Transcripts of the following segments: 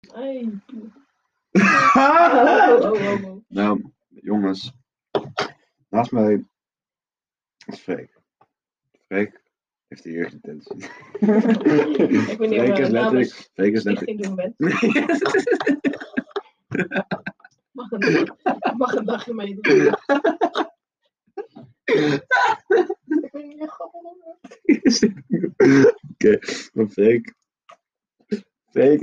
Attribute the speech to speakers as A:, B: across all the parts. A: in de poel. Oh, oh, oh, oh, oh.
B: Nou, jongens. Naast mij is Freek. Freek heeft de eerste intentie.
A: Ik ben
B: Freek is
A: hier eh,
B: letterlijk...
A: namens
B: Freek is letterlijk...
A: stichting doen bent. Mag een, dag- mag een dagje meedoen. Ik ben hier gewoon aan.
B: Oké, maar Freek... Freek...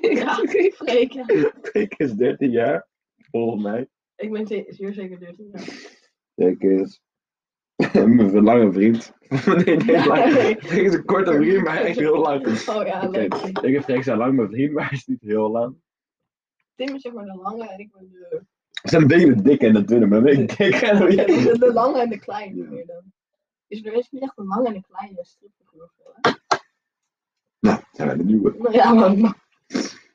A: Ja, Freek, ja.
B: Freek is 13 jaar, volgens mij.
A: Ik ben ze- zeer zeker 13 jaar.
B: Freek is... Mijn lange vriend. nee, nee, lang. Freek is een korte vriend, maar echt heel lang.
A: Oh ja,
B: Oké,
A: leuk.
B: ik heb Freek zijn lang mijn vriend, maar hij is niet heel lang.
A: Tim is zeg maar de lange en ik ben de,
B: We zijn een beetje de dikke en de dunne, maar een beetje dik en
A: de,
B: de
A: de- de lange en de kleine
B: Ja.
A: meer dan. Dus er is niet echt een lange en een kleine stripfiguur. of zo, hè?
B: Nou, zijn wij de nieuwe.
A: Nou ja, man. maar-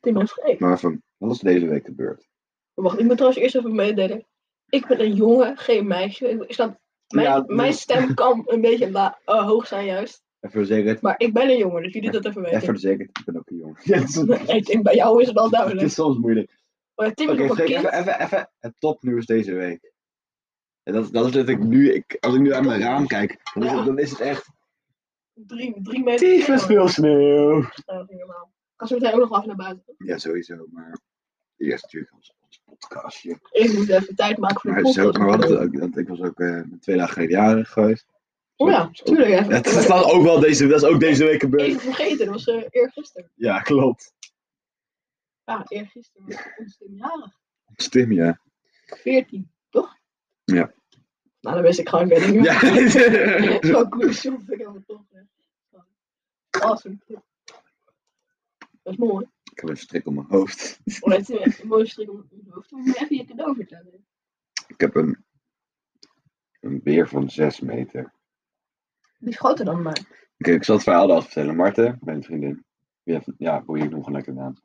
A: Tim en Freek.
B: Maar van, wat is deze week gebeurd?
A: Wacht, ik moet trouwens eerst even meedelen. Ik ben een jongen, geen meisje. Ik- Is dat, mijn,
B: Ja,
A: mijn
B: dus-
A: stem kan een beetje la- eh, hoog zijn juist.
B: Even voor de zekerheid,
A: Maar ik ben een jongen, dus jullie dat even
B: even
A: weten.
B: voor de zekerheid, ik ben ook een jongen. Ja, het is-
A: Nee, Tim, bij jou is het wel
B: het
A: duidelijk.
B: is soms moeilijk.
A: Maar Tim
B: Oké,
A: is nog een
B: Freek,
A: kind.
B: even, even, even het topnieuws deze week. En dat, dat is letterlijk nu, ik, als ik nu uit mijn raam kijk, dan is,
A: Ja.
B: het, dan is het echt...
A: Drie, drie meter.
B: Tyfus veel sneeuw!
A: Ja, dat is niet normaal. Ik ga zo meteen ook nog af naar buiten.
B: Ja, sowieso, maar eerst natuurlijk ons, ons podcastje.
A: Ik moet even tijd maken voor de
B: Maar, het is ook,
A: podcast.
B: maar wat, ook, dat, ik was ook eh, twee dagen geleden jarig geweest. eh,
A: Oh ja, tuurlijk even.
B: Dat, dat was ook wel deze, dat is ook deze week gebeurd.
A: Even vergeten, dat was eh eergisteren.
B: Ja, klopt.
A: Ja, eergisteren was ons Tim jarig.
B: Stim, ja.
A: 14, toch?
B: Ja.
A: Nou, dan wist ik gewoon weer niet meer.
B: Ja,
A: Zo'n koersje vond ik helemaal tof. hè. eh. Awesome. Dat is mooi.
B: ik heb een strik op mijn hoofd.
A: Oh, dat is echt een mooie strik om je hoofd. Moet je even je cadeau vertellen?
B: Ik heb een, een beer van 6 meter. Oké,
A: Die is groter dan mij.
B: ik zal het verhaal eraf vertellen. Marten, mijn vriendin. Die heeft, ja, hoe ik nog een lekkere naam.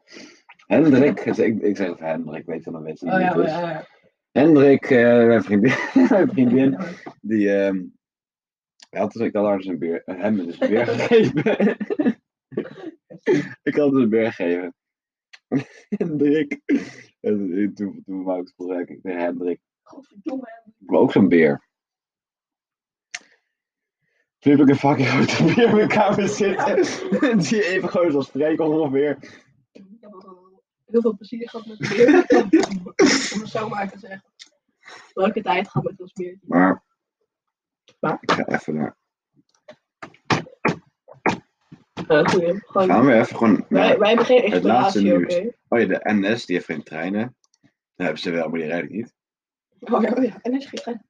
B: Hendrik, ik, ik zeg het Hendrik, weet je dan weet je niet wie het is.
A: Oh ja.
B: Hendrik, eh, mijn vriendin, mijn vriendin
A: oh,
B: die ehm, hij had dus, ik had haar dus een beer, hem dus een beer gegeven. ik had dus een beer gegeven. Hendrik. En toen, toen wou ik spreken, ik tegen Hendrik,
A: Godverdomme.
B: ik wil ook zo'n beer. Toen heb ik een fucking grote beer in mijn kamer zitten. Die even groot is als Freek ongeveer.
A: Ik heb ook al heel veel plezier gehad met beer. om het zo maar te zeggen. Leuke tijd gehad met ons beer.
B: Maar,
A: Maar?
B: ik ga even naar...
A: Ja, Eh, goeie. Gewoon,
B: Gaan we even gewoon...
A: wij, wij hebben geen
B: Het laatste
A: exploratie, oké?
B: Oh ja, de NS, die heeft geen treinen. Nou, hebben ze wel, maar die rijden niet.
A: Oh ja, oh ja. En hij is geen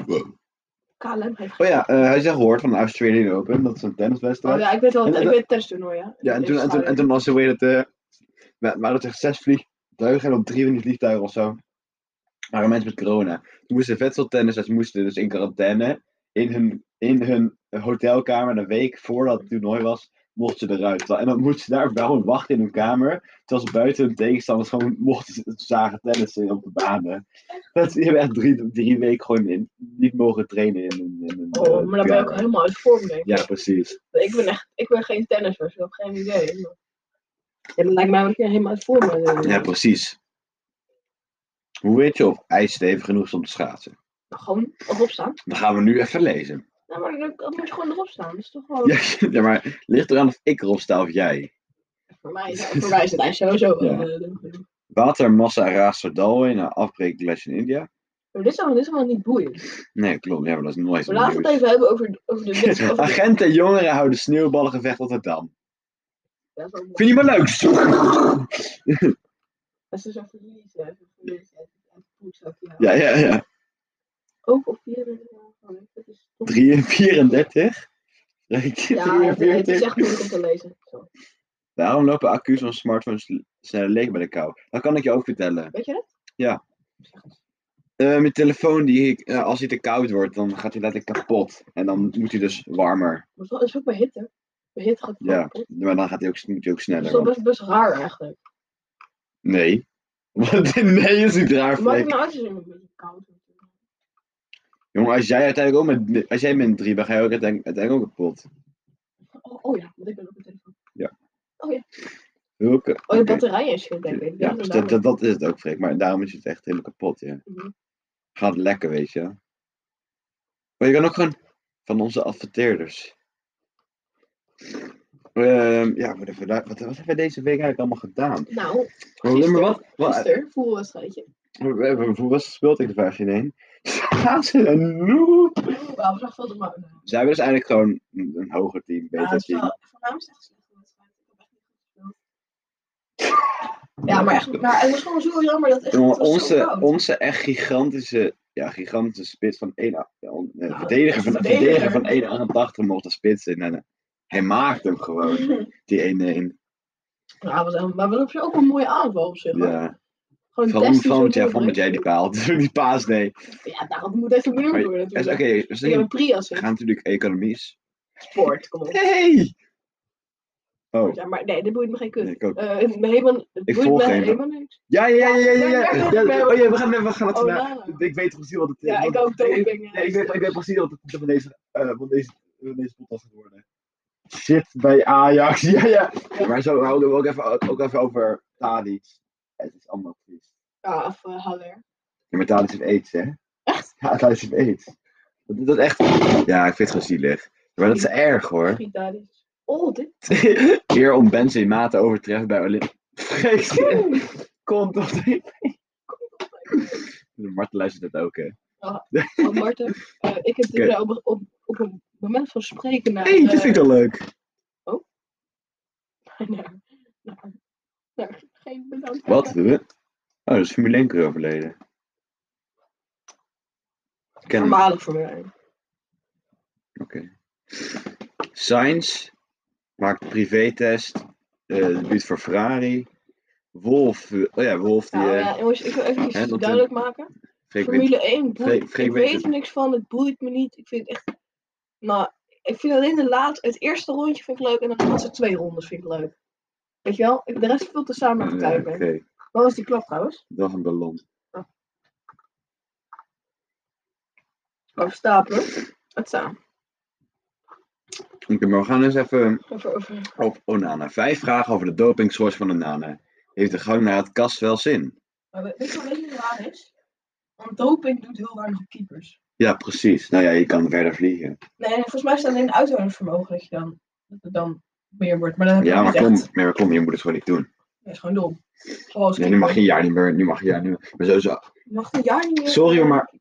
A: KLM heeft
B: Oh ja, eh, hij zegt gehoord van de Australian Open, dat is een tenniswedstrijd.
A: Oh ja, ik weet wel,
B: En- en-
A: ik weet het tennistoernooi, ja.
B: ja, en toen, en, toen, en toen was er weer dat, eh, wa- waren het echt zes vliegtuigen en op drie van die vliegtuigen of zo waren mensen met corona. Toen moesten Vettel tennis, en ze moesten dus in quarantaine in hun, in hun hotelkamer een week voordat het toernooi was, mochten ze eruit. En dan moesten ze daar wel wachten in hun kamer, terwijl ze buiten hun tegenstanders gewoon mochten ze zagen tennissen op de banen. Dat, die hebben echt drie, drie weken gewoon in, niet mogen trainen in hun... in hun,
A: Oh,
B: eh,
A: maar dan ben ik ook
B: kamer.
A: helemaal uit vorm, denk ik.
B: Ja, precies.
A: Ik ben echt, ik ben geen tennisser, dus ik heb geen idee. Maar... Ja, dat lijkt mij wel dat je helemaal uit vorm bent. eh.
B: Ja, precies. Hoe weet je of ijs stevig genoeg is om te schaatsen?
A: Nou, Gewoon erop staan.
B: Dan gaan we nu even lezen.
A: Nou, maar dat, dat moet je gewoon erop staan. Dat is toch gewoon...
B: Ja, ja, maar ligt eraan of ik erop sta of jij.
A: Voor, mij, is- voor mij is het ijs sowieso... eh,
B: Ja.
A: eh,
B: Watermassa raast er dal in na afbreekles in India.
A: maar dit is allemaal, dit is allemaal niet boeiend.
B: Nee, klopt. Ja, maar dat is nooit
A: Maar laten we het
B: nieuws.
A: even hebben over, over de... Over de
B: Agenten en jongeren houden sneeuwballengevecht op het dam.
A: Dat is wel mooi.
B: Vind je maar leuk?
A: Dat is dus een verlies, hè. Een verlies, hè. Een voetzak, ja.
B: Ja, ja, ja.
A: Ook op 34 jaar. Dat is toch...
B: 34.
A: Ja, het- het is
B: 43.
A: echt moeilijk om te lezen. Zo.
B: Waarom lopen accu's van smartphones sneller leeg bij de kou? Dat kan ik je ook vertellen.
A: Weet je dat?
B: Ja. Eh, mijn telefoon, die, eh, als hij te koud wordt, dan gaat hij letterlijk kapot. En dan moet hij dus warmer.
A: Maar dat is ook bij hitte. Bij hitte gaat het
B: Ja.
A: gewoon kapot.
B: Maar dan gaat hij ook, moet hij ook
A: Dat
B: sneller.
A: is wel best,
B: want-
A: best raar eigenlijk.
B: Nee. Want nee is niet raar,
A: Maar het
B: Freek.
A: nou uit is het een beetje koud.
B: Jongen, als jij uiteindelijk ook met, als jij min 3 bent, ga je ook uiteindelijk, uiteindelijk ook kapot.
A: Oh, oh ja, want ik ben op de telefoon.
B: Welke
A: Oh, de
B: Oké.
A: batterij is goed, denk ik.
B: Ja,
A: Dat is
B: dus
A: het
B: dat,
A: daarom.
B: dat, dat is het ook, Freek. Maar daarom is het echt helemaal kapot, ja.
A: Mhm.
B: Gaat lekker, weet je. Maar je kan ook gewoon van onze adverteerders. Ehm, ja, wat hebben, we daar- wat, wat hebben we deze week eigenlijk allemaal gedaan?
A: Nou,
B: Maar nummer wat? wat
A: gisteren, voelwedstrijdje.
B: we hebben een voetbal gespeeld tegen Vagin 1. Schaatsen en noep!
A: Oeh, Oh, Wauw, zag veel te maken.
B: Ze hebben dus eigenlijk gewoon een, een hoger team, beter
A: Ja, het is
B: team.
A: wel- voor mij was het echt een slechte wedstrijd. Ik heb echt niet goed gespeeld. Ja, maar, echt, maar het was gewoon zo jammer dat echt, het
B: Jongen,
A: was zo
B: onze,
A: koud.
B: onze echt gigantische, ja, gigantische spits van 1, ja, on- eh,
A: Nou,
B: verdediger, van,
A: verdediger.
B: verdediger van 1,88 mocht de spits in. En, eh, hij maakt hem gewoon, die 1-1.
A: Ja, was echt- maar Mhm. Nou, we hebben ook een mooie aanval op zich. hoor.
B: Ja.
A: Gewoon
B: Vooral
A: testies
B: omdat jij
A: door
B: van met jij die
A: druk.
B: paal, die paas nee.
A: Ja, nou, dat moet echt
B: Maar
A: gebeuren
B: je-
A: worden
B: Dus,
A: natuurlijk.
B: Oké, we
A: Ik heb een
B: zijn-
A: Prius
B: we
A: in
B: gaan natuurlijk economisch.
A: sport, kom op.
B: Hey! Oh,
A: Ja, maar nee, dit boeit me geen kut.
B: ik ook.
A: Eh, het me helemaal, het boeit
B: volg
A: me
B: geen-
A: helemaal niks.
B: Ja, ja, ja, ja,
A: Ja,
B: ja, ja.
A: ja,
B: ja,
A: ja, ja.
B: Oh ja, we gaan, we gaan het
A: Oh,
B: vandaag-
A: Lala.
B: Ik weet precies wat het is.
A: Ja, ik ook. doping, ja.
B: Nee, ik, weet, ik weet precies wat het van deze, eh, van deze, van deze podcast gaat worden. Shit bij Ajax. Ja, ja. Maar zo houden we ook even, ook even over Tadic. Ja, het is allemaal precies.
A: Ja, of eh, Haller.
B: Ja, maar Tadic heeft aids, hè?
A: Echt?
B: Ja, Tadic heeft aids. Dat is dat echt... Ja, ik vind het gewoon zielig. Maar dat is erg, hoor.
A: Friet Daddies. Oh, dit.
B: Weer om Benzema te overtreffen bij Olymp. Vrees je? Komt op de... Marten luistert het ook, hè?
A: Oh, Marten, eh, ik heb dit
B: Oké.
A: wel op, op, op het moment van spreken naar...
B: Hé, hey,
A: eh,
B: dat vind ik wel leuk.
A: naar, naar, naar- geen bedankt.
B: Wat? Huh? Oh, dat is Formule 1 keer overleden. Ik Ken hem.
A: Voormalig voor mij.
B: Sainz maakt privétest. eh debuut voor Ferrari. Wolf. eh, Oh ja, Wolf die...
A: Nou,
B: eh,
A: ja, jongens, ik wil even iets
B: hè, dat, eh,
A: duidelijk maken.
B: Freek wint.
A: Formule 1 boeit.
B: Freek- Freek
A: ik
B: weet
A: weet
B: het.
A: er niks van, het boeit me niet. Ik vind het echt. Nou, ik vind alleen de laatste, het eerste rondje vind ik leuk en de laatste twee rondes vind ik leuk. Weet je wel? Ik- De rest veel te samen aan het
B: Ja,
A: kijken.
B: Eh, Oké,
A: ben. Wat was die klap trouwens?
B: dat is een ballon.
A: Over stapelen. Het samen.
B: Oké, maar we gaan eens even
A: Over, over.
B: op Onana. Vijf vragen over de dopingsource van Onana. Heeft de gang naar het kast wel zin?
A: Maar we- weet je wat heel raar is? Want doping doet heel weinig op keepers.
B: Ja, precies. Nou ja, je kan verder vliegen.
A: Nee, en volgens mij is het alleen uithoudingsvermogen dat je dan, dat het dan meer wordt. Maar dan heb je
B: Ja,
A: het
B: maar
A: niet
B: kom,
A: echt.
B: maar kom, je moet het gewoon niet doen.
A: Dat is gewoon dom. Gewoon als
B: Nee, nu mag je
A: keeper.
B: een jaar niet meer. Nu mag je een jaar niet meer. Maar sowieso,
A: Je mag een jaar niet meer.
B: Sorry,
A: Ja,
B: maar-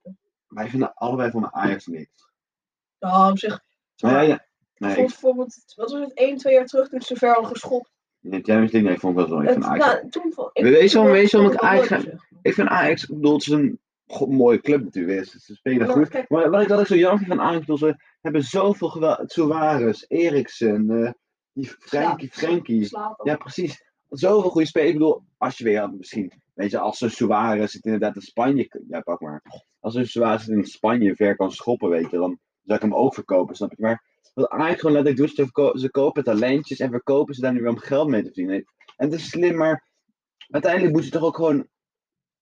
B: Wij vinden allebei van de Ajax niks.
A: Nou, op zich.
B: Maar ja, ja. Nee,
A: Bijvoorbeeld,
B: ik,
A: bijvoorbeeld, wat was het, 1, 2 jaar terug toen ze ver al geschopt.
B: in de Champions League nee, ik vond ik wel zo. Ik
A: Het-
B: vind Ajax.
A: nou, toen vond
B: We weten wel-
A: vond-
B: we weten wel
A: vond
B: met
A: ik wel
B: Ajax-
A: leuk, zeg.
B: Ik vind Ajax, ik bedoel, het is een go- mooie club natuurlijk. Ze ze spelen
A: Maar
B: goed.
A: Nou, kijk-
B: Maar wat ik, wat ik zo jammer vind van Ajax, ik bedoel, ze hebben zoveel geweld. Suarez, Eriksen, eh, die Frenkie, Frenkie.
A: Slaat op.
B: Ja, precies. Zoveel goede spelers. Ik bedoel, als je weer had, misschien, weet je, als ze Suarez het inderdaad in Spanje, k- ja pak maar. Als een Suarez het in Spanje ver kan schoppen, weet je, dan zou ik hem ook verkopen, snap je. Maar wat eigenlijk gewoon letterlijk doet, ze, verko- ze kopen talentjes en verkopen ze daar nu weer om geld mee te verdienen. En het is slim, maar uiteindelijk moet je toch ook gewoon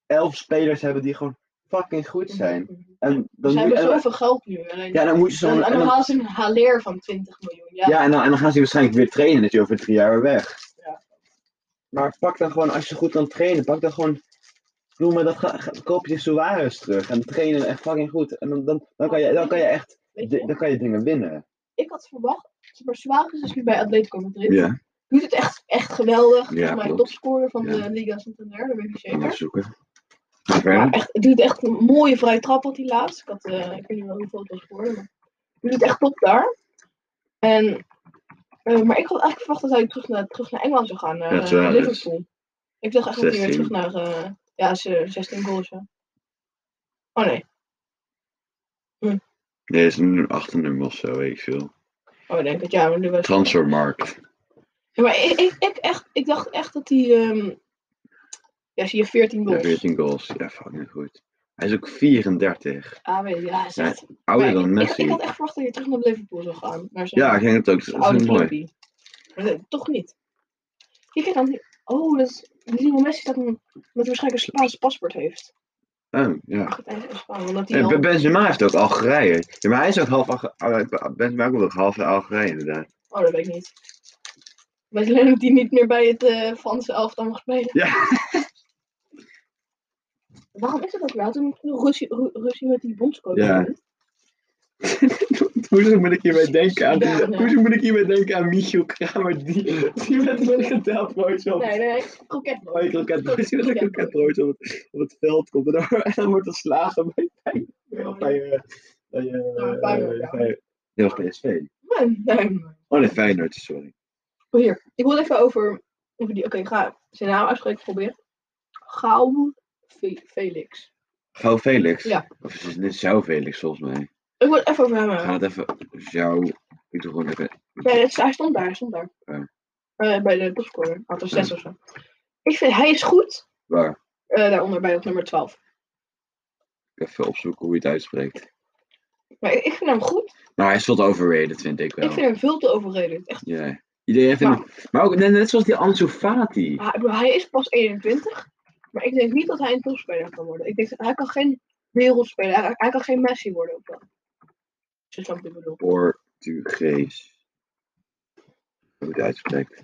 B: elf spelers hebben die gewoon fucking goed zijn. En dan,
A: Ze
B: moet,
A: hebben
B: en,
A: zoveel geld nu. Alleen,
B: ja, dan moet je
A: en,
B: zo'n...
A: en
B: en
A: dan
B: dan-
A: halen ze een haleer van 20 miljoen. Ja,
B: ja, en dan, en dan gaan ze die waarschijnlijk weer trainen, dat je over drie jaar weer weg.
A: Ja.
B: Maar pak dan gewoon, als je goed kan trainen, pak dan gewoon, noem maar dat, ga, ga- koop je Suarez terug en trainen echt fucking goed. En dan, dan, dan, kan, je, dan kan je echt,
A: weet je
B: di-
A: wel.
B: dan kan je dingen winnen.
A: Ik had verwacht, maar Suarez is nu bij Atletico Madrid. doet het echt, echt geweldig.
B: Ja,
A: Ja, mij
B: klopt.
A: topscorer van
B: Ja.
A: de Liga Santander, dat weet ik niet zeker.
B: zoeken.
A: Maar echt, het doet echt een mooie vrije trap had hij laatst. Ik, had, eh, ik weet niet wel hoeveel het was geworden, maar hij doet het echt top daar. En, eh, maar ik had eigenlijk verwacht dat hij terug naar, terug naar Engeland zou gaan, naar
B: Ja,
A: eh,
B: terwijl hij is
A: Liverpool. Ik dacht echt dat hij weer
B: 16.
A: terug naar, eh, ja, ze- 16 goals, ja. Oh nee,
B: Nee, is een achternummer of zo, weet ik veel.
A: oh ik denk het, ja, maar nu was
B: Transfermarkt.
A: Ja, maar ik, ik, ik, echt, ik dacht echt dat hij, ehm, ja, zie je 14 goals.
B: 14 goals, ja fucking goed. Hij is ook 34,
A: Ah, weet je, ja, hij is
B: Ja,
A: echt-
B: ouder
A: Maar
B: dan
A: ik- ik- Ik,
B: Messi.
A: had echt verwacht dat je terug naar Liverpool zou gaan. Naar zijn,
B: Ja, ik denk het ook,
A: zijn
B: dat
A: oude
B: is mooi.
A: clubpie. Maar nee, toch niet. Je kijkt dan. Oh, dat is. Lionel Messi staat een, met waarschijnlijk een Spaans paspoort heeft.
B: Oh, ja.
A: Argentijnse of Spaans. Omdat hij
B: Ja, Be-
A: dan.
B: Benzema heeft ook Algerije. Ja, oh, maar hij is ook half Alge- eh, Be- Benzema komt ook half Algerije inderdaad.
A: Oh, dat weet ik niet. Ik weet alleen dat die niet meer bij het eh Franse elftal mag spelen.
B: Ja.
A: Waarom is dat ook wel? Toen veel ruzie, ru- ruzie met die bondscoach.
B: Ja.
A: hadden.
B: Hoezo moet ik hierbij denken aan,
A: Ja, nee.
B: hoezo moet ik hierbij denken aan Michiel Kramer, die, die met een geteld op
A: Nee, nee, kroketbal.
B: Oh, je kroketbroodje, met een kroketbroodje op het, op het veld komt. En dan, en dan wordt er slagen bij, bij, bij, eh, bij, eh,
A: Feyenoord,
B: bij- Nee, dat was PSV.
A: Nee, nee.
B: Oh nee, Feyenoord, sorry.
A: Maar Hier, ik wil even over, over die. Oké, ik ga zijn naam uitspreken proberen. Gauw Fe- Felix.
B: Gauw Felix.
A: Ja.
B: Of is het net Zou Felix, volgens mij.
A: Ik wil het even over hem hebben.
B: Gaat even, Zou, ik doe gewoon even,
A: Nee, het- hij stond daar, hij stond daar.
B: Ja.
A: Eh, bij de topscorer, Hij had er zes of zo. Ik vind, hij is goed.
B: waar,
A: Eh, daaronder bij op nummer 12.
B: even opzoeken hoe je het uitspreekt.
A: Maar ik, ik vind hem goed.
B: Maar Nou, hij is wat overrated, vind ik wel.
A: Ik vind hem veel te overrated. Echt.
B: Ja. Iedereen vindt hem- Maar ook net, net zoals die Ansu Fati.
A: Hij, ik bedoel, hij is pas 21. Maar ik denk niet dat hij een topspeler kan worden. Ik denk dat hij kan geen wereldspeler. Hij, hij kan geen Messi worden ook wel. Als je snapt wat ik bedoel.
B: Portugees. Hoe je het uitspreekt.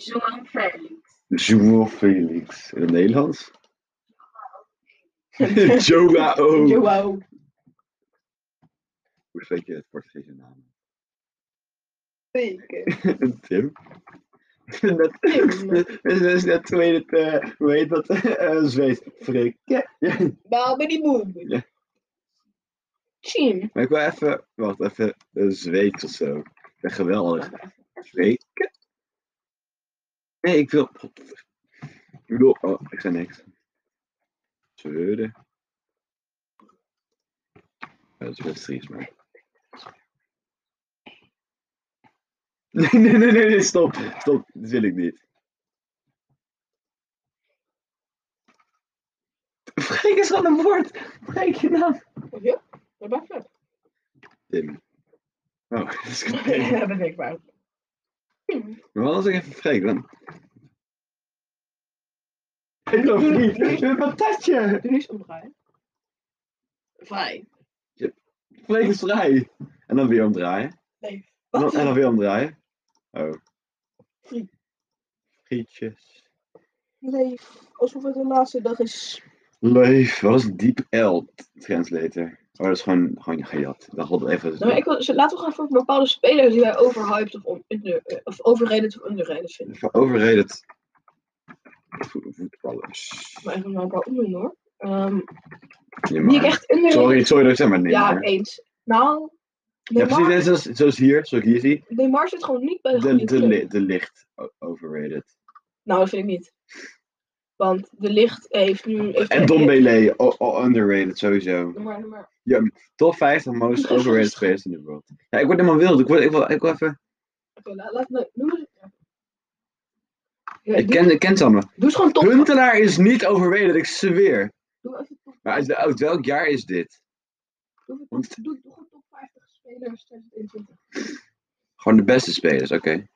C: João Félix.
B: Joao Felix. In het Nederlands? Joao.
A: Joao.
B: Hoe spreek je het Portugese naam?
A: Zeker.
B: Tim? Net, net, net, net hoe heet het, eh, hoe heet dat, eh Zweeds? Freek.
A: Babi die boom.
B: Ja.
A: Team.
B: Maar ik wil even, wacht, even eh, Zweeds of zo. Ik ben geweldig. Freek. Nee, ik wil, ik bedoel, oh, ik zei niks. Zweden. Ja, dat is wel triest, maar. Nee, nee, nee, nee, nee, stop, stop, dat wil ik niet. Freek is gewoon een woord. Freek je nou. naam.
A: Ja, dat ben ik.
B: Tim. Oh, dat is goed.
A: Ja, dat ben ik maar.
B: Maar wat als ik even Freek dan? Ik geloof het niet. Ik ben een patatje.
A: Doe nu eens omdraaien. Vrij.
B: Freek is vrij. En dan weer omdraaien.
A: Nee.
B: En dan,
A: Wat?
B: en dan weer omdraaien. Oh.
A: Friet.
B: Frietjes.
A: Leef. Alsof het de laatste dag is.
B: Leef. Wat is diep L translator? Oh, dat is gewoon, gewoon gejat. Dan god even.
A: Nou, maar ik wil, z- laten we gaan voor bepaalde spelers die wij overhyped of, on- under, eh, of overrated of underrated vinden.
B: Even overrated. Vo- Voetballers.
A: Maar even maar een paar opnoemen hoor. Ehm,
B: Ja,
A: die ik
B: maar-
A: echt underrated...
B: Sorry, sorry dat ik zeg maar nee.
A: ja,
B: maar.
A: eens. Nou,
B: Ja, precies.
A: Neymar,
B: net Zoals, zoals hier, zoals ik hier zie.
A: Neymar zit gewoon niet bij de,
B: De,
A: goede
B: de,
A: club.
B: li- de licht o- overrated.
A: Nou, dat vind ik niet. Want de licht heeft nu... Heeft
B: En Dombele, o- o- underrated sowieso.
A: Maar, maar,
B: Top 50 most overrated spelers in the world. Ja, ik word helemaal wild. Ik, word, ik, wil, ik wil even...
A: oké, laat, laat, me- noem eens... Ja,
B: Ik
A: doe,
B: ken, ik ken ze allemaal.
A: doe eens gewoon top.
B: Huntelaar is niet overrated, ik zweer.
A: Doe even top.
B: Maar uit, uit welk jaar is dit?
A: Doe, even
B: Want-
A: top- doe, doe gewoon top 50 spelers 2021.
B: Gewoon de beste spelers, oké.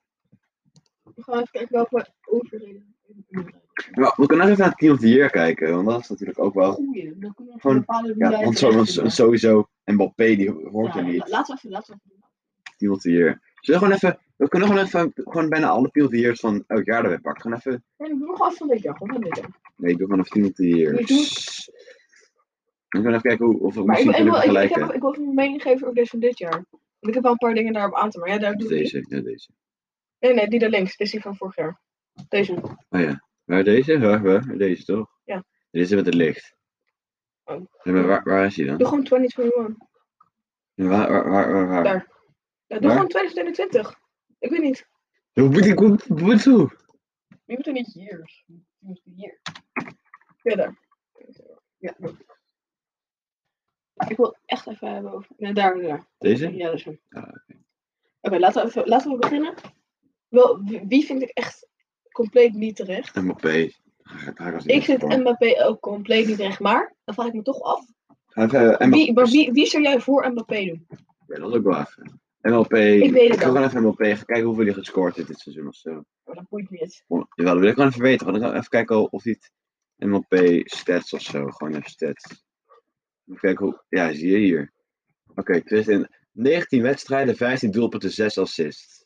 A: We gaan even kijken welke overrated en underrated.
B: Maar We kunnen nog even naar het team of the year kijken, want dat is natuurlijk ook wel...
A: goeie. Dan kunnen we
B: Gewoon-
A: bepalen wie
B: Ja,
A: wij
B: want,
A: het
B: zo, want
A: echt
B: zo-
A: vinden.
B: sowieso, Mbappé die hoort
A: Ja,
B: er niet.
A: la- Laten we even, laten we even doen.
B: Team of the year. Zullen we gewoon even... We kunnen gewoon even gewoon bijna alle team of the years van elk jaar erbij pakken. Gewoon even
A: Nee, we doen nog af van dit jaar, gewoon van dit jaar.
B: Nee, ik doe vanaf 10 op de hier.
A: Nee, doe
B: Ik ben even kijken hoe, of we
A: Maar ik,
B: misschien
A: wil- ik, wil,
B: kunnen
A: ik, ik,
B: vergelijken.
A: heb, ik wil even mijn mening geven over deze van dit jaar. Want ik heb wel een paar dingen daarop aan te maken. Ja, daar doe ik.
B: Deze, ja deze.
A: Nee, nee, die daar links. Dit is die van vorig jaar. Deze.
B: Oh ja. Waar deze? Waar, waar? Deze toch?
A: Ja.
B: Dit is met het licht.
A: Oh.
B: Ja, maar waar, waar is hij
A: Doe
B: dan?
A: gewoon 2021.
B: Ja, Waar, waar, waar, waar? waar?
A: Daar. Ja, doe
B: Waar?
A: gewoon 2022. Ik weet niet.
B: Hoe moet ik hoe moet ik toe?
A: Je moet er niet hier. Je moet hier. Ja, daar. Ja. Ik wil echt even hebben over. Nee, daar, daar.
B: Deze?
A: Ja, dat is hem.
B: Ah,
A: Oké, laten, we even- laten we beginnen. Wel, wie- wie vind ik echt compleet niet terecht?
B: Mbappé. Ga- ga als
A: Ik
B: eerste
A: vind
B: voor.
A: Mbappé ook compleet niet terecht, maar dan vraag ik me toch af.
B: Ga even, eh,
A: Wie, maar
B: Mbappé.
A: wie, wie zou jij voor Mbappé doen?
B: Ja, dat is ook wel even. MLP.
A: Ik weet het
B: Ik ga
A: wel.
B: gewoon even MLP gaan kijken hoeveel hij gescoord heeft dit seizoen of zo.
A: Oh, dat boeit me niet.
B: Oh, Jawel, dat wil ik gewoon even weten. Gewoon even kijken of dit MLP stats of zo. Gewoon even stats. Even kijken hoe. Ja, zie je hier. Oké, dus in 19 wedstrijden, 15 doelpunten, 6 assists.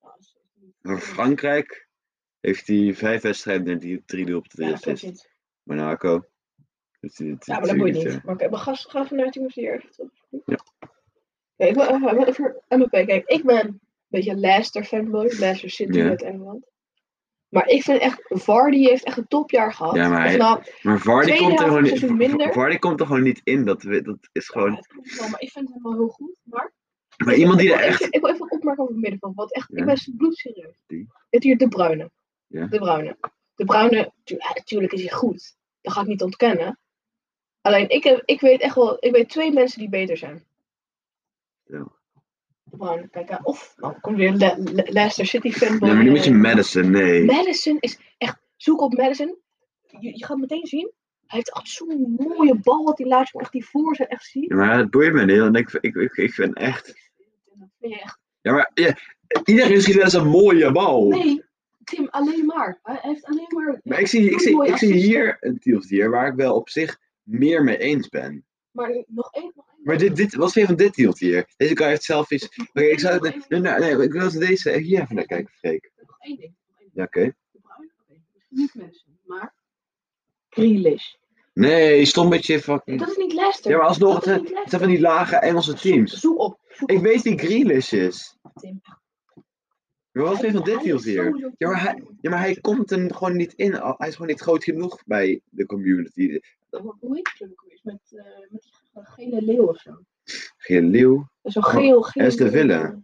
A: Nou, dat is-
B: Maar Frankrijk heeft hij vijf wedstrijden en die drie doel op de
A: Ja,
B: drie
A: klopt
B: assist.
A: niet.
B: Monaco. Dus die- die-
A: Ja, maar dat
B: die-
A: boeit
B: die-
A: niet. Maar oké, we gaan gaan vanuit die moest hier even op.
B: Ja.
A: Oké, ik wil even, wel even Mbappé. Kijk, ik ben een beetje Leicester fanboy. Leicester City
B: Ja.
A: uit Engeland. Maar ik vind echt, Vardy heeft echt een topjaar gehad.
B: Ja, maar
A: Of
B: hij-
A: nou,
B: Maar Vardy
A: Tweede helft
B: komt, er gewoon
A: van het
B: niet,
A: seizoen minder.
B: Vardy komt er gewoon niet in. Dat, we- dat is
A: ja,
B: gewoon...
A: het klopt wel, maar ik vind hem wel heel goed. Maar,
B: Maar iemand die
A: ik,
B: er
A: wil
B: echt...
A: even, ik wil even opmerken over het middenveld. Want echt,
B: Ja.
A: ik ben bloedserieus.
B: Die?
A: Dit hier, De Bruyne.
B: Ja.
A: De Bruyne. De Bruyne, tu- ja, natuurlijk is hij goed. Dat ga ik niet ontkennen. Alleen, ik, heb, ik weet echt wel, ik weet twee mensen die beter zijn.
B: Ja.
A: De Bruyne, kijk, ja, of, nou, kom weer Le- Le- Leicester City fanboy.
B: Nee, maar nu moet je
A: eh,
B: Madison, nee.
A: Madison is echt, zoek op Madison. Je, je gaat meteen zien, hij heeft echt zo'n mooie bal, dat die laat je echt die voorzet echt zien.
B: Ja, maar het boeit me niet. want Ik, ik, ik, ik vind echt...
A: En dan vind je echt,
B: Ja, maar ja, iedereen schiet wel eens een mooie bal.
A: nee, Tim, alleen maar. Hij hij heeft alleen maar,
B: Oh. Maar ik zie, ik
A: Zo'n
B: zie,
A: mooie
B: ik zie
A: assist.
B: hier een deal hier waar ik wel op zich meer mee eens ben.
A: maar nog één. nog één-
B: Maar dit, dit, wat vind je van dit deal hier? Deze guy heeft selfies. Oké, ik zou
A: nog
B: het.
A: één-
B: Nee, nee, nee, ik wil dat we deze hier even naar kijken, Freek.
A: nog één ding. nog één ding.
B: Ja, oké.
A: De Bruyne, oké, misschien niet Madison, maar Grealish.
B: Nee, stommetje fucking.
A: Dat is niet Leicester.
B: Hmm. Ja, maar alsnog,
A: dat
B: het
A: is
B: zijn,
A: niet
B: het zijn
A: Leicester.
B: van die lage Engelse teams.
A: Zoek, zoek op, zoek
B: Ik
A: op
B: weet wie Grealish is.
A: Tim.
B: Maar wat vind je van dit
A: Hij
B: deal
A: is
B: hier?
A: sowieso
B: Ja, maar Ja, maar hij komt er gewoon niet in. Al- Hij is gewoon niet groot genoeg bij de community.
A: Hoe hoe heet het ook weer? Met, eh, met die ge- gele leeuw of zo.
B: Geen leeuw.
A: Zo'n geel, geel.
B: Oh, Aston Villa.
A: leeuw.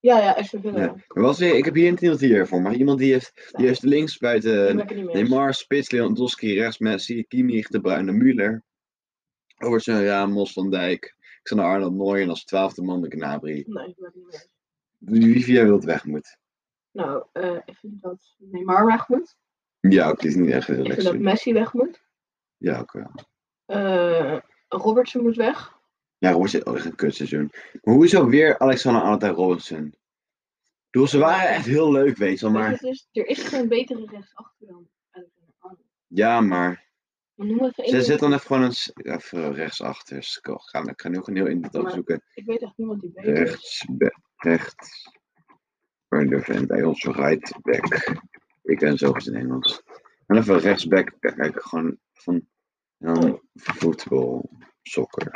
A: Ja, ja, Aston Villa.
B: Ja. Maar wat vind je- ik heb hier een deal hier voor. Maar iemand die heeft, die
A: Ja.
B: heeft links
A: Die
B: buiten
A: ben ik er niet mee eens.
B: eh, Neymar, Spits, Lewandowski, rechts Messi, Kimmich, De Bruyne, Müller. Robertson, Ramos, Van Dijk, Xander Arnold, Neuer en als twaalfde man de Gnabry.
A: Nee, ik ben het niet mee eens.
B: Wie wie jij wilt weg moet.
A: Nou, eh, ik vind dat Neymar weg moet.
B: Ja, ook, die is niet echt heel
A: Ik
B: rechts.
A: vind dat Messi weg moet.
B: Ja, ook wel.
A: Eh Robertson moet weg.
B: Ja, Robertson is ook echt een kutseizoen. Maar hoezo weer Alexander Arnold en Robertson? Doe, ze waren echt heel leuk, weet je wel,
A: Weet
B: maar...
A: je, Dus het is, er is geen betere rechtsachter dan Alexander Arnold.
B: Ja, maar...
A: Maar noem even één
B: Ze
A: iemand-
B: zit dan even gewoon eens... Even rechtsachter. Ik ga, ik ga nu ook een heel in het
A: Maar-
B: opzoeken.
A: Ik weet echt niemand die beter is.
B: Rechts, be- rechts. Van de vent bij ons right back. Ik ben zo goed in Engels. En even rechts back kijken, gewoon van
A: Oh.
B: dan voetbal, soccer,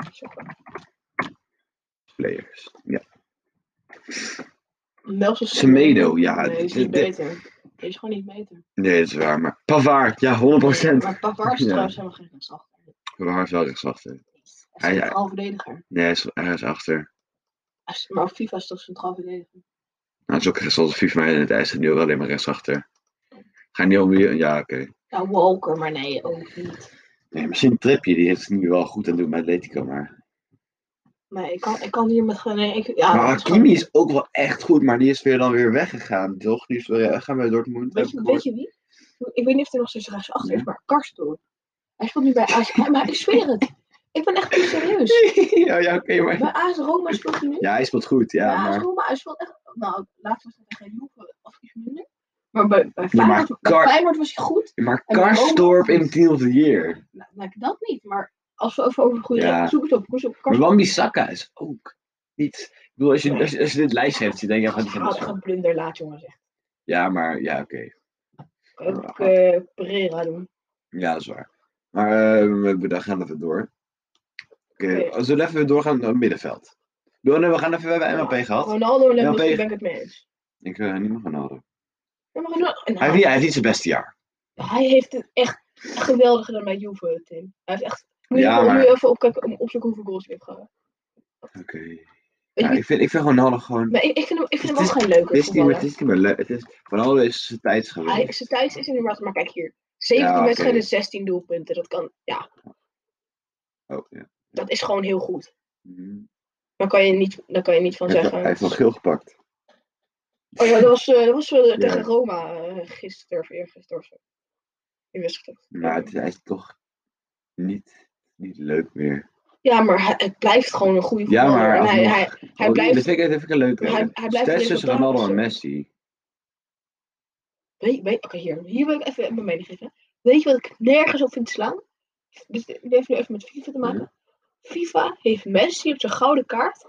B: players. Ja.
A: Nelson
B: Semedo, ja,
A: Nee, die is
B: dit-
A: niet
B: dit-
A: beter. Die is gewoon niet beter.
B: Nee, dat is waar, maar Pavard, ja, 100%.
A: Maar Pavard is
B: Ja.
A: trouwens helemaal geen rechtsachter.
B: Pavard is wel rechtsachter.
A: Hij
B: Hij-
A: is centraal verdediger.
B: Nee, hij is, hij is achter.
A: Hij is- Maar FIFA is toch centraal verdediger?
B: Nou, het is ook rechts als FIFA, maar in het ijs zit nu ook alleen maar rechtsachter. Ga je niet om wie- Ja, oké.
A: Ja, Walker, maar nee, ook niet.
B: Nee, misschien Tripje, die is nu wel goed aan het doen bij Atletico, maar...
A: Nee, ik kan, ik kan hier met geen... nee, ik- ja,
B: maar
A: dat is
B: Hakimi
A: gewoon-
B: is ook wel echt goed, maar die is weer dan weer weggegaan, toch? Die is weer eh, weggegaan bij Dortmund. heb
A: Weet
B: ik
A: je,
B: gehoord.
A: weet je wie? Ik weet niet of er nog steeds rechtsachter is,
B: Ja.
A: maar Karstorp. Hij speelt nu bij AS... Maar ik zweer het. Ik ben echt niet serieus.
B: ja, ja oké, maar...
A: Bij AS Roma speelt hij nu.
B: Ja, hij speelt goed, ja,
A: bij AS
B: maar...
A: Roma, hij speelt echt... Nou, laatst was hij tegen Juve of iets minder. Maar bij, bij,
B: Ja, maar
A: Feyenoord, bij
B: Kar-
A: Feyenoord was hij goed.
B: Maar
A: En Roma-
B: Karstorp in Team of the Year.
A: Nou, nou, dat niet, maar als we over, over een goede...
B: Ja.
A: Zoek het op, zoek het op.
B: Maar
A: Karstorp.
B: Wan-Bissaka is ook niet... Ik bedoel, als je, als, je, als je dit lijstje hebt, dan denk je van... die
A: Ja,
B: vindt
A: ik
B: het
A: ga
B: zo.
A: blunder laat, jongens. echt.
B: Ja, maar... Ja, oké.
A: Ik
B: Ja.
A: ook eh, Pereira doen.
B: Ja, dat is waar. Maar eh, we- we dan gaan even door. Oké,
A: Oké.
B: we zullen we even doorgaan naar het middenveld. Doe, nee, We gaan even... We hebben MAP gehad.
A: Ronaldo en Lewandowski
B: tegen-
A: ben ik het mee eens.
B: Ik wil niet meer gaan houden.
A: Ja, maar Ronaldo-
B: Hij heeft
A: nou,
B: niet- hij heeft niet zijn beste jaar.
A: hij heeft het echt geweldig gedaan bij Juve, Tim. Hij heeft echt... Moet je
B: Ja,
A: gewoon
B: maar-
A: nu even opkijken, om- opzoeken hoeveel goals hij heeft gehad.
B: Oké.
A: Weet
B: Ja,
A: je
B: ik, vind, ik vind Ronaldo gewoon.
A: Maar ik, ik vind hem, ik vind hem
B: Het
A: ook geen leuke
B: Het is, niet meer, het
A: voetballer.
B: is niet meer leuk. Het is, Ronaldo is zijn tijd
A: Hij,
B: geweest.
A: zijn thuis is inderdaad... Maar kijk hier. 17
B: Ja, oké.
A: wedstrijden, 16 doelpunten. Dat kan... Ja,
B: Oh, ja.
A: dat is gewoon heel goed.
B: Mhm.
A: Daar kan je niet, daar kan je niet van
B: Hij heeft-
A: zeggen...
B: hij heeft wel geel gepakt.
A: Oh ja, dat was, eh, dat was eh, tegen
B: Ja.
A: Roma eh, gisteren of eergisteren of zo. In wedstrijd.
B: Maar het, is- hij is toch niet, niet leuk meer.
A: Ja, maar hij, het blijft gewoon een goede
B: Ja,
A: voetballer.
B: maar
A: En hij,
B: alsnog.
A: hij, hij
B: Oh,
A: blijft-
B: Dat vind ik, dat vind ik een leuke.
A: Hij- hij blijft
B: Tijd tussen
A: resultaten
B: Ronaldo en
A: zoeken.
B: Messi.
A: Weet, weet, Oké, hier, hier wil ik even mijn mening geven. Weet je wat ik nergens op vind slaan? Dus dit heeft nu even met FIFA te
B: Mhm.
A: maken. FIFA heeft Messi op zijn gouden kaart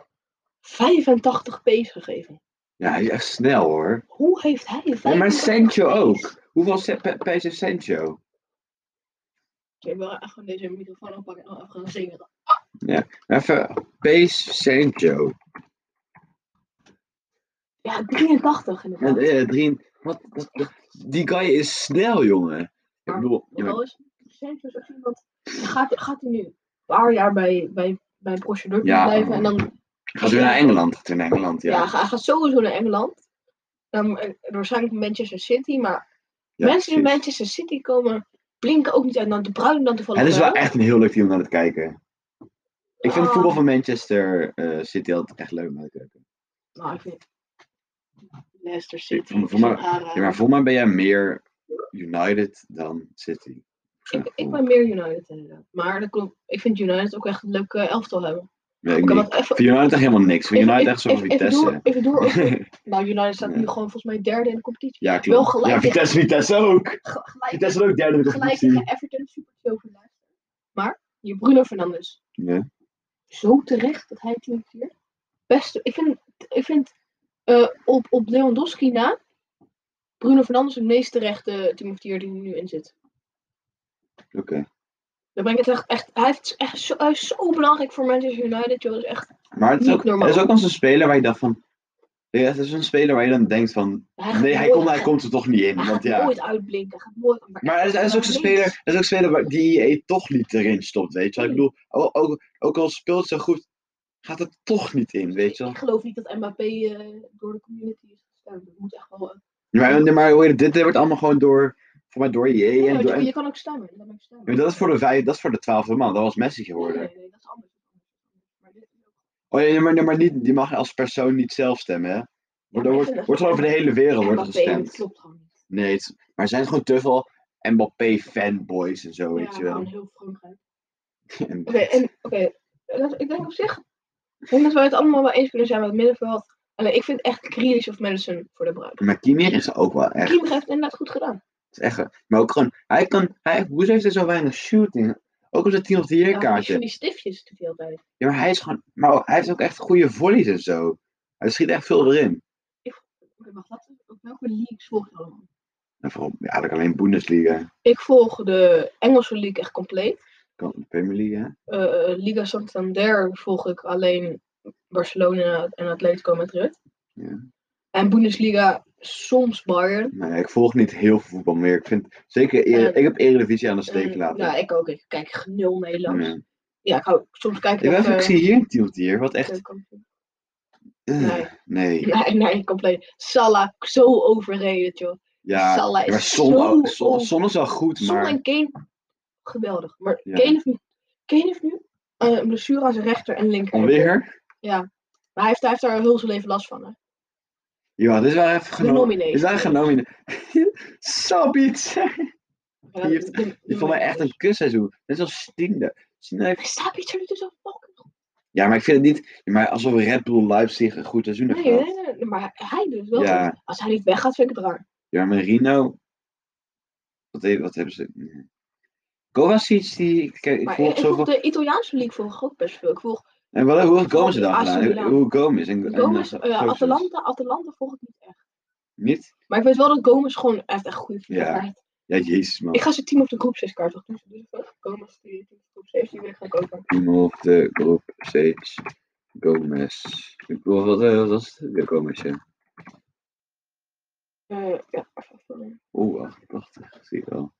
A: 85 pace gegeven.
B: Ja, hij is echt snel hoor.
A: Hoe heeft hij een
B: Ja, maar
A: 35?
B: Sancho ook. Hoeveel se- pe- pijs heeft Sancho?
A: Ik wil echt gewoon deze microfoon oppakken en even gaan zingen.
B: Nou, Even pace Sancho.
A: Ja, 83
B: En,
A: inderdaad.
B: eh, drie, wat, wat- wat- die guy is snel, jongen. Ik bedoel, ja, maar-
A: Wel is Sancho is ook iemand. Gaat, gaat hij nu een paar jaar bij, bij, bij Borussia Dortmund
B: Ja.
A: blijven en dan
B: gaat weer naar Engeland. Gaat weer naar Engeland,
A: Ja,
B: ja.
A: hij gaat sowieso naar Engeland. Dan, eh, waarschijnlijk Manchester City. Maar mensen
B: Ja,
A: die
B: precies.
A: in Manchester City komen, blinken ook niet uit naar de bruin dan te vallen.
B: Het is wel echt een heel leuk team om naar te kijken. Ik vind
A: Ah.
B: het voetbal van Manchester eh, City altijd echt leuk om naar te kijken.
A: Nou, ik vind... Leicester City.
B: voor- voor mij-
A: Sahara.
B: Ja, maar volgens mij ben jij meer United dan City. Zo,
A: ik, ik ben meer United inderdaad. Maar dat komt, ik vind United ook echt een leuke elftal hebben.
B: weet ik
A: Oké,
B: niet.
A: want even-
B: Voor United echt helemaal niks. Voor
A: even-
B: United
A: even-
B: echt zo'n
A: even- even door-
B: Vitesse.
A: Even door. Nou, United staat nu
B: Ja.
A: gewoon volgens mij derde in de competitie.
B: ja,
A: Wel
B: klopt.
A: gelijk.
B: Ja, Vitesse, Vitesse ook.
A: Ge- Gelijk,
B: Vitesse is ook derde in de
A: gelijk
B: competitie.
A: tegen Everton, super veel verlaagd. Maar, je Bruno Fernandes.
B: Ja.
A: zo terecht dat hij team vier. Best, ik vind, ik vind eh, op, op Lewandowski na Bruno Fernandes het meest terechte team of the year die er nu in zit.
B: Oké.
A: Dan ben ik het echt, echt, hij, heeft echt zo, hij is zo belangrijk voor Manchester United. Joh, dat is echt,
B: Maar het is
A: Niet
B: ook,
A: normaal.
B: het is ook als een speler waar je dacht van... Ja, het is een speler waar je dan denkt van...
A: hij gaat
B: Nee, hij
A: nooit-
B: komt, hij komt er toch niet in.
A: hij
B: Want
A: gaat
B: ja,
A: nooit uitblinken. Hij gaat nooit,
B: Maar hij is, hij is ook zo'n speler, hij is ook een speler waar, die EA toch niet erin stopt, weet je wel. Ik bedoel, ook, ook, ook al speelt ze goed, gaat het toch niet in, weet je wel.
A: Ik geloof niet dat Mbappé eh, door de community is gestemd. Dat moet echt wel. eh,
B: Maar, nee, maar hoe heet het, dit wordt allemaal gewoon door, voor mij door EA
A: ja,
B: en
A: want
B: door...
A: je,
B: en-
A: je kan ook stemmen. je kan ook stemmen.
B: maar dat is voor de vijf, dat is voor de twaalfde man, dat was Messi
A: Nee,
B: geworden.
A: nee, nee, dat is anders. Maar dit is ook-
B: Oh ja, ja, maar, nee, maar niet, die mag als persoon niet zelf stemmen, hè. Wordt, er wordt, wordt er over de hele wereld wordt er
A: Mbappé, dat
B: gestemd.
A: klopt gewoon niet.
B: Nee, het, maar er zijn gewoon te veel Mbappé-fanboys en zo, weet
A: ja,
B: je wel.
A: gewoon heel Frankrijk.
B: En-
A: Oké, en oké, dat- ik denk op zich, ik denk dat we het allemaal wel eens kunnen zijn met het middenveld. Alleen ik vind echt Grealish of Madison voor de bruid.
B: Maar Kimmich is ook wel echt...
A: Kimmich heeft het inderdaad goed gedaan.
B: Het is echt, waar. maar ook gewoon, hij kan, hij, hoezo heeft hij zo weinig shooting? Ook op zijn team of the year
A: Ja, maar die-
B: kaartje.
A: die stiftjes doet hij altijd.
B: Ja, maar hij is gewoon, maar ook- hij heeft ook echt goede volleys en zo. Hij schiet echt veel erin.
A: Oké, wacht, wat, op welke leagues volg je allemaal?
B: En vooral, ja, eigenlijk alleen Bundesliga,
A: Ik volg de Engelse league echt compleet.
B: kan- de Premier League, hè?
A: Eh, eh, Liga Santander volg ik alleen Barcelona en Atletico Madrid.
B: Ja.
A: En Bundesliga soms Bayern.
B: Nee, ik volg niet heel veel voetbal meer. Ik vind, zeker, Ere-
A: Eh,
B: ik heb Eredivisie aan de steek
A: Eh,
B: laten.
A: Ja, ik ook. Ik kijk nul Nederlands.
B: Nee.
A: Ja, ik eh, hou soms kijk
B: Ik, wil even- ik zie hier een team of the year, wat echt, eh,
A: Nee.
B: nee.
A: Nee, nee, compleet. Salah, zo overreden, joh.
B: Ja,
A: Salah
B: maar
A: is
B: Son,
A: zo...
B: ook- Son,
A: over-
B: Son is wel goed,
A: Son
B: maar
A: en Kane, geweldig. Maar
B: Ja.
A: Kane heeft nu, Kane heeft nu eh, een blessure aan zijn rechter en linker.
B: alweer?
A: Maar hij heeft, hij heeft daar heel zijn leven last van, hè.
B: Ja, dit is wel even genomen.
A: Genomineerd.
B: Dit is wel genomineerd. Sabiet!
A: Ja,
B: Die heeft-
A: de- de-
B: Die vond mij echt een kusseizoen. Net zoals Stiende. Stiende heeft-
A: Hij staat hier nu dus al fucking goed.
B: Ja, maar ik vind het niet... Maar alsof Red Bull Leipzig een goed seizoen heeft
A: Nee,
B: gehad.
A: nee, nee, nee, Maar hij doet het wel
B: Ja.
A: goed. Als hij niet weggaat, vind ik het raar.
B: Ja, maar Rino... Wat, heeft, wat hebben ze... nee. Kovacic, die... Ik, ik
A: Maar
B: volg
A: ik volg
B: zoveel...
A: de Italiaanse league volg ik ook best veel. Ik volg
B: En wat, hoe heeft Gomez
A: ik
B: het dan
A: AC
B: gedaan?
A: Milan.
B: Hoe Gomez? En, en,
A: Gomez,
B: eh,
A: eh,
B: Kovacic?
A: Atalanta, Atalanta volg ik niet echt.
B: Niet?
A: Maar ik weet wel dat Gomez gewoon hij heeft echt goede
B: Ja.
A: voetbalkaart.
B: Ja, jezus man.
A: Ik ga zijn team op de groep 6 kaart nog doen. Dus eh, Gomez die team op de groep 6 die wil ik gaan kopen.
B: Iemand op de groep steeds Gomez. Ik bedoel, wat, eh, wat was het? Ja, Gomez, ja.
A: Eh, ja, even afvallen.
B: Oeh, 88. Zie ik wel.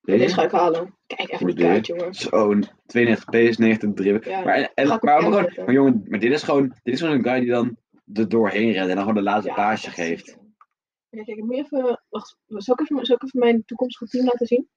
A: Deze ga ik halen. Kijk even die
B: Voor de-
A: kaart, jongen.
B: Zo'n 92 PS, 90 dribbel.
A: Oh, Ja,
B: maar, en- en-
A: ga ik
B: maar,
A: op dus, eh. hem
B: maar, gewoon,
A: zetten.
B: maar jongen, maar dit is gewoon, dit is gewoon een guy die dan er doorheen rent en dan gewoon de laatste
A: Ja,
B: paasje
A: echt
B: geeft.
A: ziek, jongen. Ja, kijk, ik moet even. Wacht, zal ik even, zal ik even mijn toekomstige team laten zien?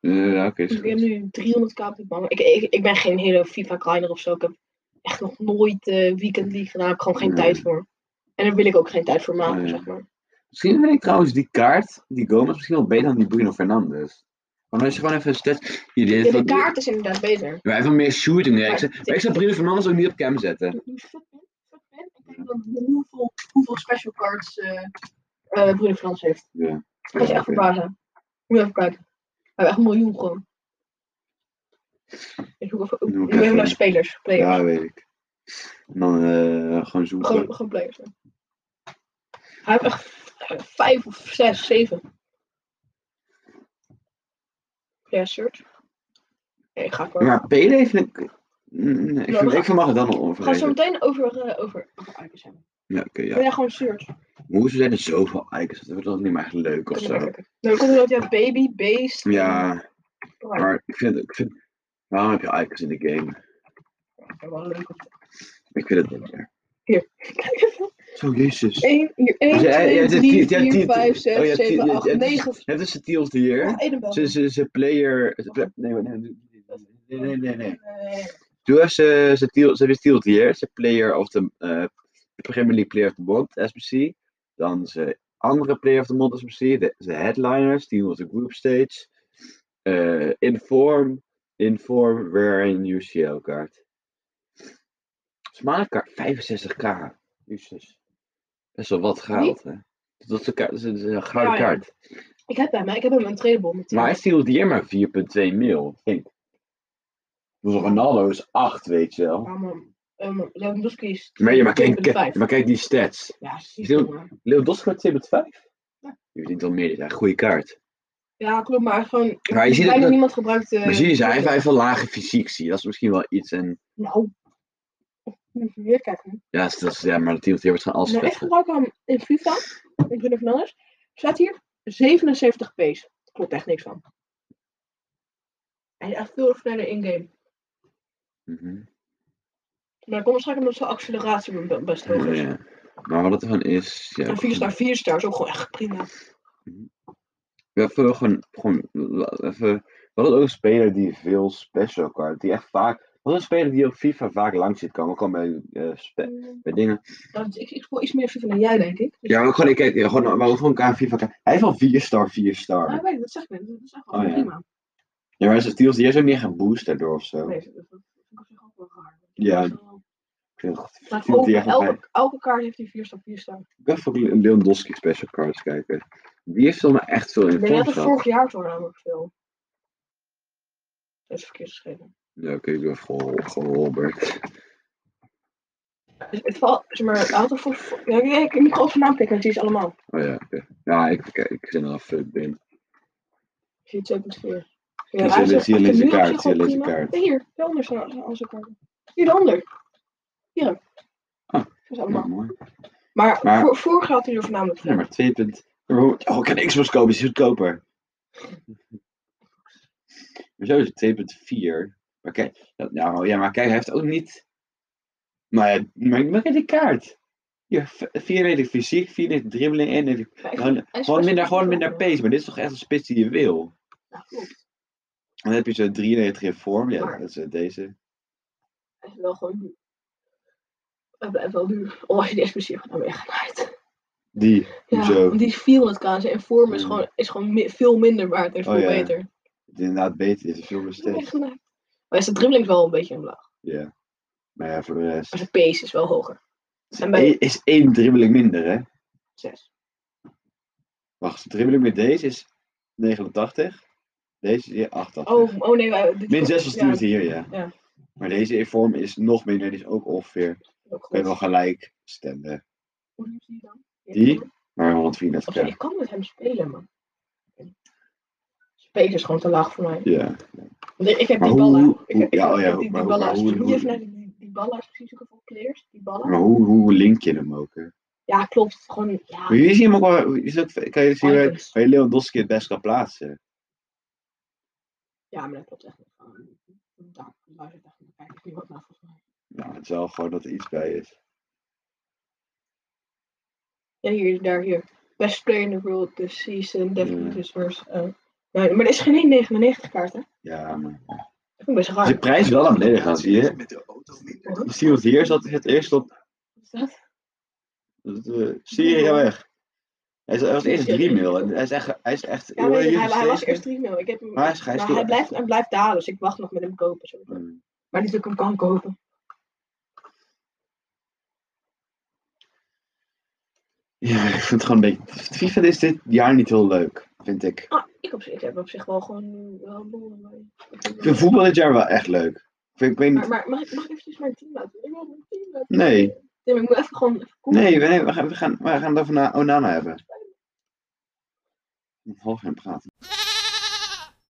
B: Eh, ja, oké, is
A: Ik heb
B: goed.
A: nu 300k op de bank. Ik, ik, ik ben geen hele FIFA-grinder of zo. Ik heb echt nog nooit eh Weekend League gedaan. Daar heb ik gewoon geen
B: Nee.
A: tijd voor. En daar wil ik ook geen tijd voor maken,
B: Nee.
A: zeg maar.
B: Misschien vind ik trouwens die kaart, die Gomez, misschien wel beter dan die Bruno Fernandes. Want als je gewoon even stats... Hier, dit
A: Ja,
B: is
A: de
B: van-
A: kaart is inderdaad beter.
B: Maar hij heeft wel meer shooting. hè. Ik zou,
A: Maar-
B: maar ik zou Bruno Fernandes ook niet op cam zetten.
A: Nu nu fit ben, fit ben, ik denk dan hoeveel, hoeveel special cards eh eh Bruno Frans heeft.
B: Ja.
A: Dat is
B: Ja,
A: echt
B: oké.
A: verbazen. Moet je even kijken. Hij heeft echt een miljoen gewoon. Ik zoek even, ik
B: Doe ik
A: zoek even
B: even.
A: naar spelers. Players.
B: Ja, weet ik. En dan eh, gewoon zoeken.
A: Gewoon, gewoon players. hè. Hij heeft echt v- vijf of zes, zeven. Ja, shirt. Nee, ik ga voor.
B: Maar Pele vind ik... Mm, nee, ik,
A: Ja,
B: vind,
A: we
B: ik mag het dan al
A: we gaan zo
B: overrated.
A: meteen over, eh, over, over icons hebben.
B: Ja, oké,
A: Ja.
B: ja.
A: Maar ja, gewoon shirt.
B: Maar hoezo zijn er zoveel icons? Dat wordt toch niet meer echt leuk of
A: Kunnen we
B: zo?
A: maar klikken. Nou, dan komt er ook ja, baby, beest. en-
B: Ja,
A: Oh, ja,
B: maar ik vind, ik vind... Waarom heb je icons in de game?
A: wel leuk.
B: Ik vind het niet meer.
A: Hier, kijk even.
B: Zo, jezus.
A: 1,
B: Dus jij- jij
A: 2,
B: zit
A: 3,
B: tier- jij
A: 4,
B: tier-
A: 5,
B: oh,
A: 6,
B: jij
A: 7,
B: tier-
A: 8,
B: jij-
A: 9.
B: Net als de Teals hier.
A: Oh, Edenbel.
B: Ze, ze, ze player. ze pla- Nee, nee, nee, nee, nee, nee, nee. Doe even ze, ze, deal, ze hebben Steeled hier. Ze player of the eh, Premier League Player of the Month, SBC. Dan ze andere Player of the Month, SBC. De, ze headliners, Team of the Group Stage. eh inform, inform, wherein UCL kaart. Smale kaart, 65k. Jezus. Best wel wat geld, hè? Dat is een, kaart, dat is een, dat is een gouden
A: Ja, ja.
B: kaart.
A: Ik heb hem, hè. ik heb hem een tradeball met
B: Maar hij steelt hier maar 4,2 mil. Ik Denk. Dus Ronaldo is 8, weet je wel.
A: Ja, man. Um, Lewandowski is
B: Maar, ja, maar, kijk,
A: 2,5.
B: kijk, maar kijk die stats.
A: Ja, zie
B: Heel-
A: je, jongen.
B: Lewandowski gaat 2,5.
A: Ja.
B: Je verdient al meer. Ja, goede kaart.
A: Ja, klopt, maar gewoon...
B: Maar je ziet
A: bijna
B: het-
A: niemand gebruikt... eh,
B: Maar zie je, ze- hij
A: Lewandowski.
B: heeft hij heeft wel lage fysiek, zie je. Dat is misschien wel iets. En,
A: Nou. Moet je Weer kijken.
B: ja, dat is, ja, maar natuurlijk wordt gewoon alles
A: Nou,
B: vet.
A: echt gebruik hem in FIFA. Ik ben er van anders. Staat hier 77 pace. Klopt echt niks van. Hij is echt veel sneller in-game.
B: Mhm.
A: Maar dat komt waarschijnlijk omdat zijn acceleratie be- best hoog is.
B: Oh, Ja. Maar wat het ervan is... Ja,
A: En 4 star, 4 star is ook gewoon echt prima.
B: We hebben wel gewoon, gewoon la- even. Wat ook een speler die veel special card. Die echt vaak. Wat een speler die op FIFA vaak langs zit komen. Ook al bij, eh, spe- bij dingen.
A: Nou, dus ik, ik speel iets meer FIFA dan jij, denk ik. Dus-
B: Ja, maar ook gewoon, ik kijk, ja, gewoon, maar ook gewoon aan FIFA. kijken. Hij heeft al 4 star, 4
A: Nou, ik
B: star.
A: weet het, dat zeg ik net. Dat is echt wel
B: Oh, ja.
A: prima.
B: Ja, maar zijn deals, die is ook niet geboost daardoor of zo.
A: Nee, dat dat vind ik op zich ook wel raar.
B: Ja.
A: Dat is wel-
B: Ik vind het
A: Maar
B: Steals die
A: elke,
B: echt nog bij-
A: elke, elke kaart heeft die 4 star, 4 star.
B: Ik wil even ook Lewandowski special cards kijken. Die heeft wel maar echt veel
A: Ik
B: in
A: denk
B: vorm
A: dat het
B: gehad.
A: vorig jaar toen namelijk veel. Dat is verkeerd geschreven.
B: Ja, oké, ik doe even gewoon- gewoon Robert.
A: Dus het valt, zeg maar, hij had er voor. voor- Ja, ik- ik ik moet gewoon zijn naam tikken, want die is allemaal.
B: Oh ja, oké. Ja, ik, ik, ik zit er al fuck in.
A: Ik zie het 2.4.
B: Hier
A: hij is
B: lees-
A: echt-
B: hier
A: ik
B: lees
A: vind
B: je
A: nu op
B: kaart,
A: zich wel
B: hier lees je
A: prima.
B: kaart.
A: Nee, Hier, de ander zijn zijn onze kaarten. Hier, de ander. Hier.
B: Ah.
A: Dat is allemaal.
B: Ja, mooi.
A: Maar,
B: Maar-
A: Voor, vorig jaar had hij er voornamelijk
B: Ja,
A: gedaan.
B: maar 2 punt. Oh, ik kan Xbox kopen, is goedkoper. Maar zo is het 2.4. Maar kijk, dat- nou, ja, maar kijk, hij heeft ook niet. Nou ja, maar maar kijk die kaart. Hier, 94 fysiek, 94 dribbeling, 91.
A: Maar ik-
B: Gewoon,
A: hij is
B: gewoon
A: best
B: minder,
A: wel
B: gewoon
A: goed
B: minder
A: geworden.
B: pace, maar dit is toch echt een spits die je wil. En
A: Ja, klopt.
B: dan heb je zo'n 93 in vorm, ja,
A: Maar-
B: dat is eh, deze.
A: Hij is wel gewoon duur. Hij blijft wel duur. Oh, als je die explosief gaat, dan ben je genaaid.
B: Die,
A: Ja,
B: hoezo?
A: want die 400 kaas en vorm is
B: Mm.
A: gewoon, is gewoon mi- veel minder waard en is
B: Oh,
A: veel
B: ja.
A: beter. Dan
B: Het inderdaad beter is, is veel
A: ben je
B: steeds.
A: genaaid. Maar zijn dribbling is wel een beetje omlaag.
B: Ja. Maar ja, voor de rest.
A: Maar zijn pace is wel hoger. En bij-
B: Eén- Is één dribbeling minder, hè?
A: 6.
B: Wacht, de dribbeling met deze is 89. Deze is hier 88.
A: Oh, oh nee, wij, dit
B: Min 6 was
A: ja,
B: toen het hier, ja.
A: Ja.
B: Maar deze in vorm is nog minder. Die is ook ongeveer.
A: ook
B: Ik ben wel
A: goed.
B: gelijk stemmen.
A: Hoe duur is die dan?
B: Die?
A: Of
B: Maar
A: zo,
B: 134k.
A: Ik kan met hem spelen, man. Spelen is gewoon te laag voor mij.
B: Ja.
A: Nee, ik heb
B: Maar
A: die
B: hoe-
A: ballen. Ik
B: hoe-
A: heb, ik
B: ja,
A: heb
B: oh ja,
A: die,
B: maar
A: die
B: hoe- maar
A: ballen.
B: hoe-
A: Moet
B: hoe-
A: je even naar die, die ballen precies zoeken voor players? Die ballen?
B: Maar hoe, hoe link je hem ook? Hè?
A: Ja, klopt. Gewoon, ja.
B: Maar hier zie je hem ook wel. hier Is ook, kan je zien waar,
A: icons.
B: waar je Lewandowski het best kan plaatsen?
A: Ja, maar dat klopt echt niet. Gewoon, Daar luistert echt niet. Kijk, ik wat naar volgens mij.
B: Nou, het is wel gewoon dat er iets bij is.
A: Ja, hier, daar, hier. Best player in the world this season. Definitely
B: Ja.
A: deserves. eh, nou, maar er is geen 99 kaart, hè?
B: Ja, maar.
A: Dat vind ik best raar.
B: Als je prijs is wel naar beneden gaat, zie je.
D: Met de auto minder.
A: Wat
B: Je ziet wat hier zat, het eerst op.
A: is dat?
B: eh, Syrië ga weg. Hij is- hij was eerst 3 mil. en Hij is echt. Hij is echt
A: Ja, maar
B: hier
A: hij, hij was
B: gestegen.
A: eerst 3 mil. Ik heb hem,
B: Maar hij is- hij is
A: maar
B: wel
A: hij
B: echt-
A: blijft, hij blijft dalen, dus ik wacht nog met hem kopen. Zo.
B: Mm.
A: Maar niet dat ik hem kan kopen.
B: Ja, ik vind het gewoon een beetje. FIFA is dit jaar niet heel leuk, vind ik.
A: Ah, ik, op, zich- ik heb op zich wel gewoon eh, wel een boel. Maar...
B: Ik vind voetbal dit jaar wel echt leuk. Ik, vind, ik weet
A: Maar,
B: niet.
A: maar mag, ik, mag ik eventjes mijn team laten? Ik wil mijn team laten.
B: Nee.
A: Tim, ik moet even gewoon even koelen.
B: Nee, we, nee, we gaan, we, gaan, we gaan het over naar Onana hebben. Ik mag wel gaan praten.
D: Yeah.